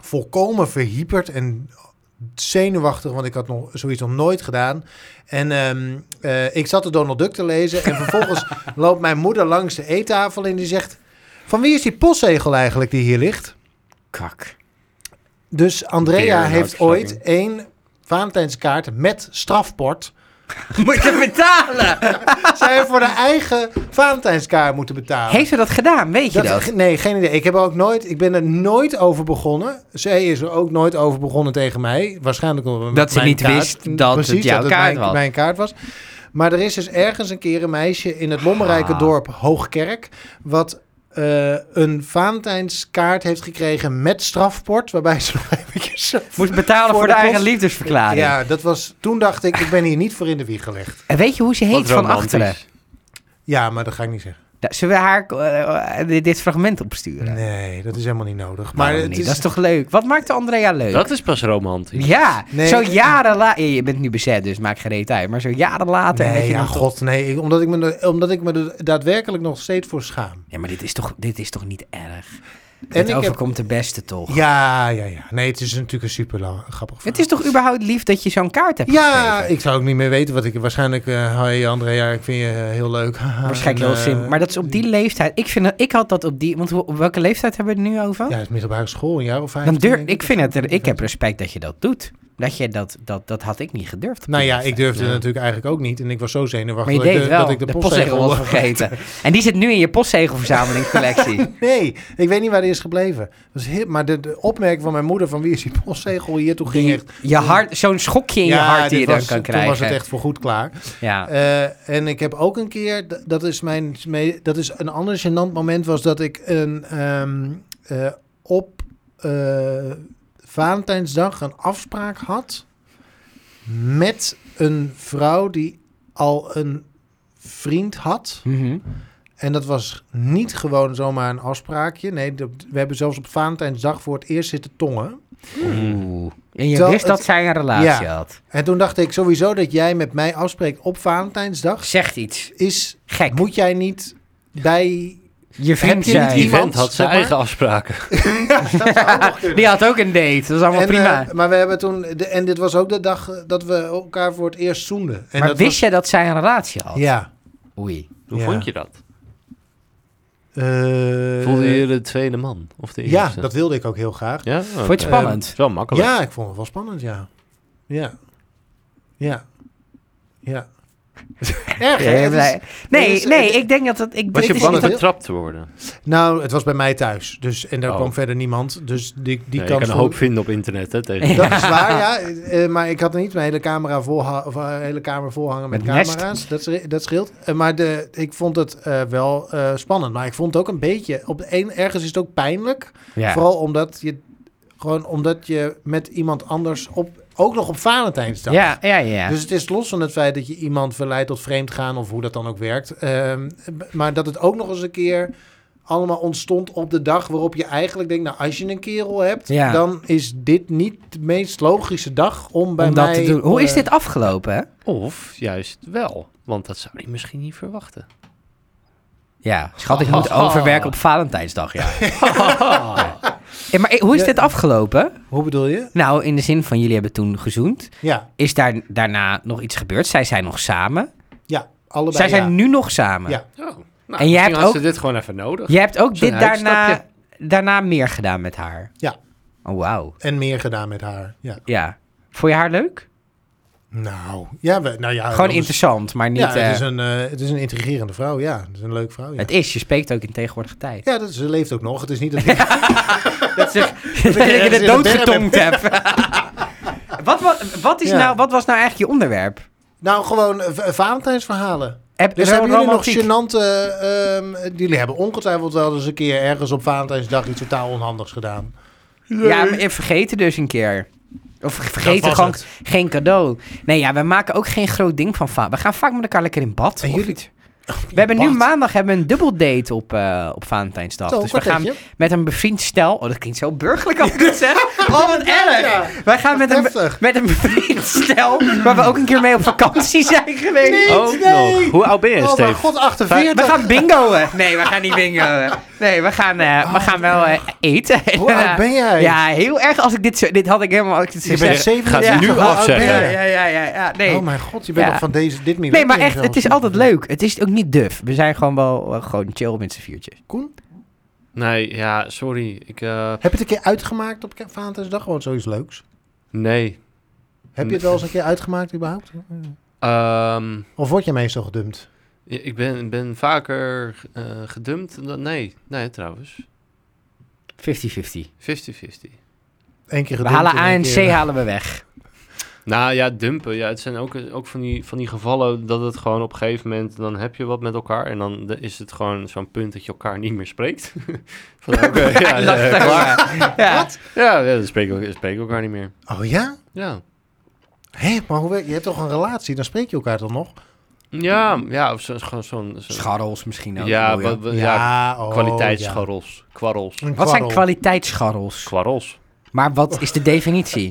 volkomen verhyperd en zenuwachtig, want ik had nog zoiets nog nooit gedaan. En ehm, eh, ik zat de Donald Duck te lezen en vervolgens loopt mijn moeder langs de eettafel en die zegt... Van wie is die postzegel eigenlijk die hier ligt?
Kak.
Dus Andrea
Weer een
heeft
hartslaging.
ooit één Valentijnskaart met strafport...
Moet je betalen?
zij voor haar eigen Valentijnskaart moeten betalen.
Heeft ze dat gedaan? Weet je
Dat-
dat?
ge- Nee, geen idee. Ik, heb er ook nooit, ik ben er nooit over begonnen. Zij is er ook nooit over begonnen tegen mij. Waarschijnlijk omdat het
Dat ze
mijn
niet
kaart-
wist dat het
Precies,
jouw
dat
kaart
mijn,
was.
mijn kaart was. Maar er is dus ergens een keer een meisje in het lommerrijke
Ah.
dorp Hoogkerk... wat eh, een Valentijnskaart heeft gekregen met strafport... waarbij ze nog eventjes...
Moet betalen voor,
Voor
de,
de
eigen
kost-
liefdesverklaring.
Ja, dat was, toen dacht ik, ik ben hier niet voor in de wieg gelegd.
En weet je hoe ze
Wat
heet van
romantisch.
achteren?
Ja, maar dat ga ik niet zeggen.
Da- Zullen we haar eh, eh, dit- dit fragment opsturen?
Nee, dat is helemaal niet nodig. Maar
Waarom
het
niet?
is,
Dat is toch leuk? Wat maakt de Andrea leuk?
Dat is pas romantisch.
Ja,
Nee.
zo jaren later. Je bent nu bezet, dus maak geen reet uit. Maar zo jaren later. dat
Nee,
je
ja,
dan toch-
god, nee. Ik- omdat, ik me, er- omdat ik me er daadwerkelijk nog steeds voor schaam.
Ja, maar dit is toch, dit is toch niet erg?
En
Het
ik heb...
overkomt de beste toch?
Ja, ja, ja. Nee, het is natuurlijk een super grappig
Het is
verhaal.
toch überhaupt lief dat je zo'n kaart hebt
Ja,
geschreven?
ik zou ook niet meer weten wat ik... Waarschijnlijk, eh hoi Andrea, ik vind je eh, heel leuk.
Waarschijnlijk
En,
heel
eh,
simpel. Maar dat is op die leeftijd. Ik, vind dat, ik had dat op die. Want hoe- op welke leeftijd hebben we het nu over?
Ja, het is middelbare school, een jaar of vijf.
Dan durf, ik, vind het, er- ik heb respect dat je dat doet. Dat, je dat, dat, dat had ik niet gedurfd. op
Nou
die
ja, ik
leeftijd.
durfde
Ja.
natuurlijk eigenlijk ook niet. En ik was zo zenuwachtig
Maar
dat
je
ik
deed
de-
wel.
dat ik de,
de, postzegel was vergeten. en die zit nu in je postzegelverzamelingcollectie.
Nee, ik weet niet waar die is gebleven. Dat is heel- maar de, de opmerking van mijn moeder van wie is die postzegel hier, toen ging echt...
je hart, zo'n schokje in je hart die
dit
je dan
was-
kan krijgen.
Toen was het echt voor goed klaar.
Ja.
Eh, en ik heb ook een keer, d- dat is, mijn, me- dat is een ander gênant moment, was dat ik een, ehm, eh, op eh, Valentijnsdag een afspraak had met een vrouw die al een vriend had.
Mhm.
En dat was niet gewoon zomaar
Mm.
een afspraakje. Nee, dat- we hebben zelfs op Valentijnsdag voor het eerst zitten tongen.
Oeh. En je
Terwijl
wist
het-
dat zij een relatie
Ja.
had.
En toen dacht ik sowieso dat jij met mij afspreekt op Valentijnsdag.
Zegt iets.
Is,
Gek.
moet jij niet bij...
Je vriend
Heb je niet
zei.
Die
iemand,
vent had
zeg
zijn
maar.
eigen afspraken.
Die had ook een date. Dat is allemaal
En,
prima.
eh, maar we hebben toen... De, en dit was ook de dag eh, dat we elkaar voor het eerst zoenden. En
maar
dat
wist je dat zij een relatie had?
was, Ja.
Oei.
Hoe
Ja.
vond je dat?
Eh,
Voelde je de tweede man? Of de
Ja,
eerste?
dat wilde ik ook heel graag.
Ja?
je het
Eh,
spannend?
is wel makkelijk.
Ja, ik vond het wel spannend, ja. Ja. Ja. Ja. Erg, hè?
Eh,
Het is-
nee, nee,
het is- het-
ik denk dat dat... Ik,
Was
dit
je
is
bang
niet
dat-
betrapt te worden?
Nou, het was bij mij thuis. Dus, en daar
Oh.
kwam verder niemand. Dus die, die
Ja, je
kans...
kan een
voor-
hoop vinden op internet, hè? Tegen...
Dat is waar, ja. Eh, maar ik had niet mijn hele, camera vol of, eh, hele kamer volhangen met,
Met mest.
camera's. Dat, is- dat scheelt. Eh, maar de, ik vond het eh, wel eh, spannend. Maar ik vond het ook een beetje... Op de een, ergens is het ook pijnlijk.
Ja.
Vooral omdat je, gewoon omdat je met iemand anders... Op, ook nog op Valentijnsdag.
Ja, ja, ja.
Dus het is los van het feit dat je iemand verleidt tot vreemdgaan of hoe dat dan ook werkt. ehm, b- maar dat het ook nog eens een keer allemaal ontstond op de dag waarop je eigenlijk denkt, nou als je een kerel hebt,
Ja.
dan is dit niet de meest logische dag om bij
om dat
mij...
te doen. Hoe is
eh,
dit afgelopen?
Of juist wel. Want dat zou je misschien niet verwachten.
Ja, schat, ik moet overwerken op Valentijnsdag, ja.
Oh.
Eh, maar eh, hoe is dit afgelopen?
Hoe bedoel je?
Nou, in de zin van jullie hebben toen gezoend.
Ja,
Is daar daarna nog iets gebeurd? Zij zijn nog samen.
ja, allebei
Zij zijn
ja.
nu nog samen.
Ja.
Oh, nou,
En jij hebt
misschien had
ook-
ze dit gewoon even nodig.
Jij hebt ook
Zo'n
dit daarna,
huisstapje.
daarna meer gedaan met haar.
Ja.
Oh, wauw.
En meer gedaan met haar, ja.
Ja. Vond je haar leuk?
Nou, ja, we, nou ja...
Gewoon
dat is-
interessant, maar niet... eh,
Ja, het is, een, eh, het is een intrigerende vrouw, ja. Het is een leuke vrouw, ja.
je spreekt ook in tegenwoordige tijd.
Ja, dat, ze leeft ook nog. Het is niet dat ik
Dat, ze, dat
ergens
ik
in
het
de
doodgetongd heb. wat, wat, wat, is
Ja.
nou, wat was nou eigenlijk je onderwerp?
Nou, gewoon eh, v- Valentijnsverhalen.
Heb,
Dus
ro-
hebben jullie nog
romantiek.
gênante... ehm, jullie hebben ongetwijfeld wel eens een keer ergens op Valentijnsdag iets totaal onhandigs gedaan.
Ja, maar je vergeten dus een keer. Of
Dat
vergeten
was
gewoon
het.
geen cadeau. Nee, ja, we maken ook geen groot ding van va. We gaan vaak met elkaar lekker in bad.
En
of
jullie-
iets. We hebben nu
bad?
maandag hebben we een dubbeldate op, eh op Valentijnsdag.
Zo,
dus we gaan
kwartetje.
met een bevriend stel... Oh, dat klinkt zo burgerlijk als ik dit zeg. Oh, wat erg.
Ja.
Wij gaan met een,
Heftig.
met een bevriend stel... waar we ook een keer mee op vakantie zijn geweest.
Oh,
nee.
nog. Hoe oud ben je,
Oh
Steve?
mijn god,
We
48!
gaan bingoen. Nee, we gaan niet bingoen. Nee, we gaan, eh, we gaan wel eh, eten.
Hoe
En,
oud
eh,
ben jij?
Ja, heel erg als ik dit zo... Dit had ik helemaal... Als ik dit zo
Je bent
zeg.
Gaat
47.
ze nu
Hoe oud ben
afzeggen?
jij?
Ja, ja, ja, ja, ja. Nee.
Oh mijn god, je bent
Ja.
nog van deze, dit minuut.
nee, maar echt, het is altijd leuk. Het is ook niet duf. We zijn gewoon wel eh, gewoon chill met z'n viertjes.
Koen,
Nee, ja, sorry. Ik, eh,
heb je het een keer uitgemaakt op Valentijnsdag? Gewoon zoiets leuks.
nee.
Heb je het wel eens een keer uitgemaakt überhaupt?
Ehm,
Of word je meestal gedumpt?
ja, ik ben, ben vaker eh, gedumpt dan... Nee, nee, trouwens. 50-50.
50-50.
Eén keer
We
gedumpt.
halen
en
A
één
en C
keer-
halen we weg.
Nou ja, dumpen. Ja, het zijn ook, ook van, die, van die gevallen dat het gewoon op een gegeven moment... dan heb je wat met elkaar en dan de- is het gewoon zo'n punt dat je elkaar niet meer spreekt. Van, oké, ja, eh, ja,
Lacht
ja,
daar maar. ja.
ja, ja, dan spreken we spreken we elkaar niet meer.
Oh ja?
Ja,
Hé, maar hoe, werkt- je hebt toch een relatie? Dan spreek je elkaar toch nog?
ja, ja of zo, gewoon zo'n... zo'n-
Scharrels misschien ook.
ja,
bedoel je.
wat- wat- ja,
oh,
kwaliteitsscharrels. Kwarrels.
ja. Een
Wat zijn
kwarrel.
kwaliteitsscharrels?
Kwarrels.
Maar wat is de definitie?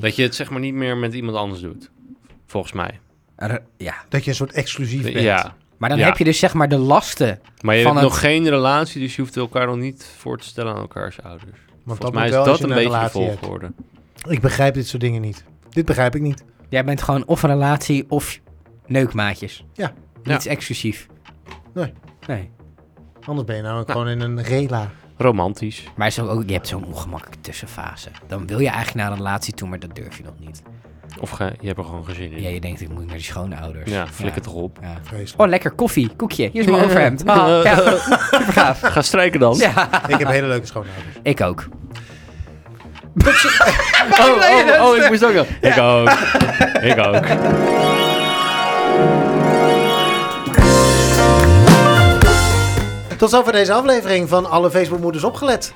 Dat je het zeg maar niet meer met iemand anders doet. Volgens mij.
Er- Ja.
Dat je een soort exclusief bent.
Ja.
Maar dan
Ja.
heb je dus zeg maar de lasten
Maar je
Van
hebt
het-
nog geen relatie, dus je hoeft elkaar nog niet voor te stellen aan elkaars ouders.
Want
Volgens
dat
mij
moet
is
wel als
dat
je
een
een
beetje de
relatie hebt.
volgorde.
Ik begrijp dit soort dingen niet. Dit begrijp ik niet.
Jij bent gewoon of een relatie of neukmaatjes.
Ja.
Niets exclusief.
Nee.
Nee.
Anders ben je namelijk
Nou.
gewoon in een rela.
Romantisch.
Maar is ook, ook- je hebt zo'n ongemakkelijke tussenfase. Dan wil je eigenlijk naar een relatie toe, maar dat durf je nog niet.
Of ge- je hebt er gewoon geen zin in.
Ja, je denkt, ik moet naar die schoonouders.
Ja, flikker toch op.
Ja.
Vreselijk.
Oh, lekker koffie. Koekje. Hier is mijn overhemd. Ah, ja. Super gaaf.
Oh. Ga strijken dan.
Ja,
Ik heb hele leuke schoonouders.
ik ook.
Oh, oh, oh, ik moest ook wel. Ik ook. Ik ook.
Tot zover deze aflevering van Alle Facebookmoeders Opgelet.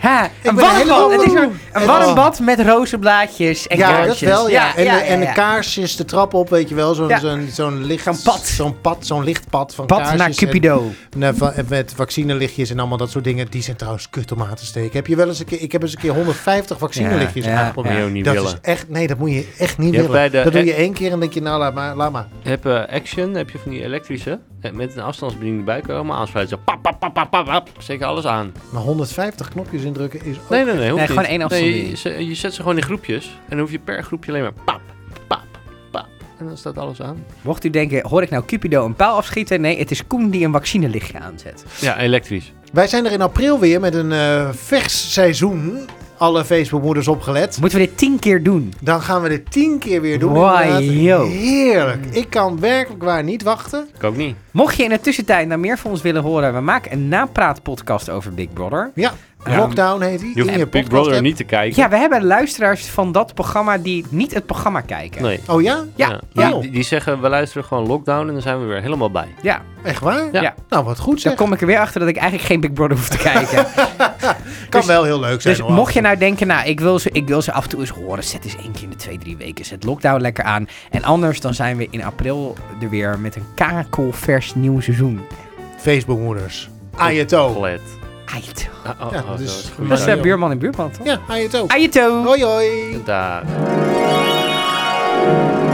Ha, een
ben
warm
helemaal-
bad. Het is een, een
Oh.
warm bad met rozenblaadjes en
ja, dat
kaarsjes.
wel. Ja. en
ja,
en
ja.
de kaarsjes de trap op, weet je wel. Zo'n
Ja.
zo'n zo'n licht...
Zo'n pad.
Zo'n pad, zo'n lichtpad van
Pad
kaarsjes.
naar
en-
Cupido.
Nee, va- eh, met vaccinelichtjes en allemaal dat soort dingen. Die zijn trouwens kut om aan te steken. Heb je wel eens een keer, ik heb eens een keer 150 vaccinelichtjes
Ja, ja,
aangeprobeerd.
ja. Moet je ook niet
dat
willen.
is echt, nee, dat moet je echt niet
Je hebt
willen.
bij de-
dat doe je één keer en denk je, nou, laat maar. Laat maar.
Je hebt eh, Action, heb je van die elektrische. eh, Met een afstandsbediening erbij kan je allemaal aansluiten. Zo, pap, pap, pap, pap, pap, pap. Zeker alles aan.
Maar 150 knopjes indrukken is ook...
Nee, nee, nee. Hoeft
Nee, gewoon
niet.
één
nee,
afstandsbediening.
je, ze- je zet ze gewoon in groepjes. En dan hoef je per groepje alleen maar pap, pap, pap. En dan staat alles aan.
Mocht u denken, hoor ik nou Cupido een paal afschieten? Nee, het is Koen die een vaccinelichtje aanzet.
Ja, elektrisch.
Wij zijn er in april weer met een eh, vers seizoen. Alle Facebookmoeders opgelet.
Moeten we dit tien keer doen?
Dan gaan we dit tien keer weer doen.
Why,
inderdaad.
yo.
Heerlijk. Ik kan werkelijk waar niet wachten.
Ik ook niet.
Mocht je in de tussentijd nou meer van ons willen horen, we maken een napraatpodcast over Big Brother.
Ja,
Ja.
Lockdown heet die.
Je
in
hoeft
je
Big
podcast
Brother
app.
niet te kijken.
Ja, we hebben luisteraars van dat programma die niet het programma kijken.
Nee.
Oh ja?
Ja,
Die-
Oh.
Die, die zeggen, we luisteren gewoon lockdown en dan zijn we weer helemaal bij.
Ja,
Echt waar?
Ja.
ja.
Nou, wat goed
Dan
zeg.
kom ik er weer achter dat ik eigenlijk geen Big Brother hoef te kijken.
kan
dus-
wel heel leuk zijn.
dus
hoor.
mocht je nou denken, nou, ik wil, ze, ik wil ze af en toe eens horen. Zet eens één keer in de twee, drie weken. Zet lockdown lekker aan. En anders dan zijn we in april er weer met een kakelvers nieuw seizoen.
Facebookmoeders. Ajeto.
Glad.
Aito.
Ah, oh,
Ja,
oh,
dat is
is
goed.
Oh. dus Dat
Ja,
is de
joh.
buurman en buurman, toch?
Ja, Ajeto.
Aito.
Hoi hoi.
Daar.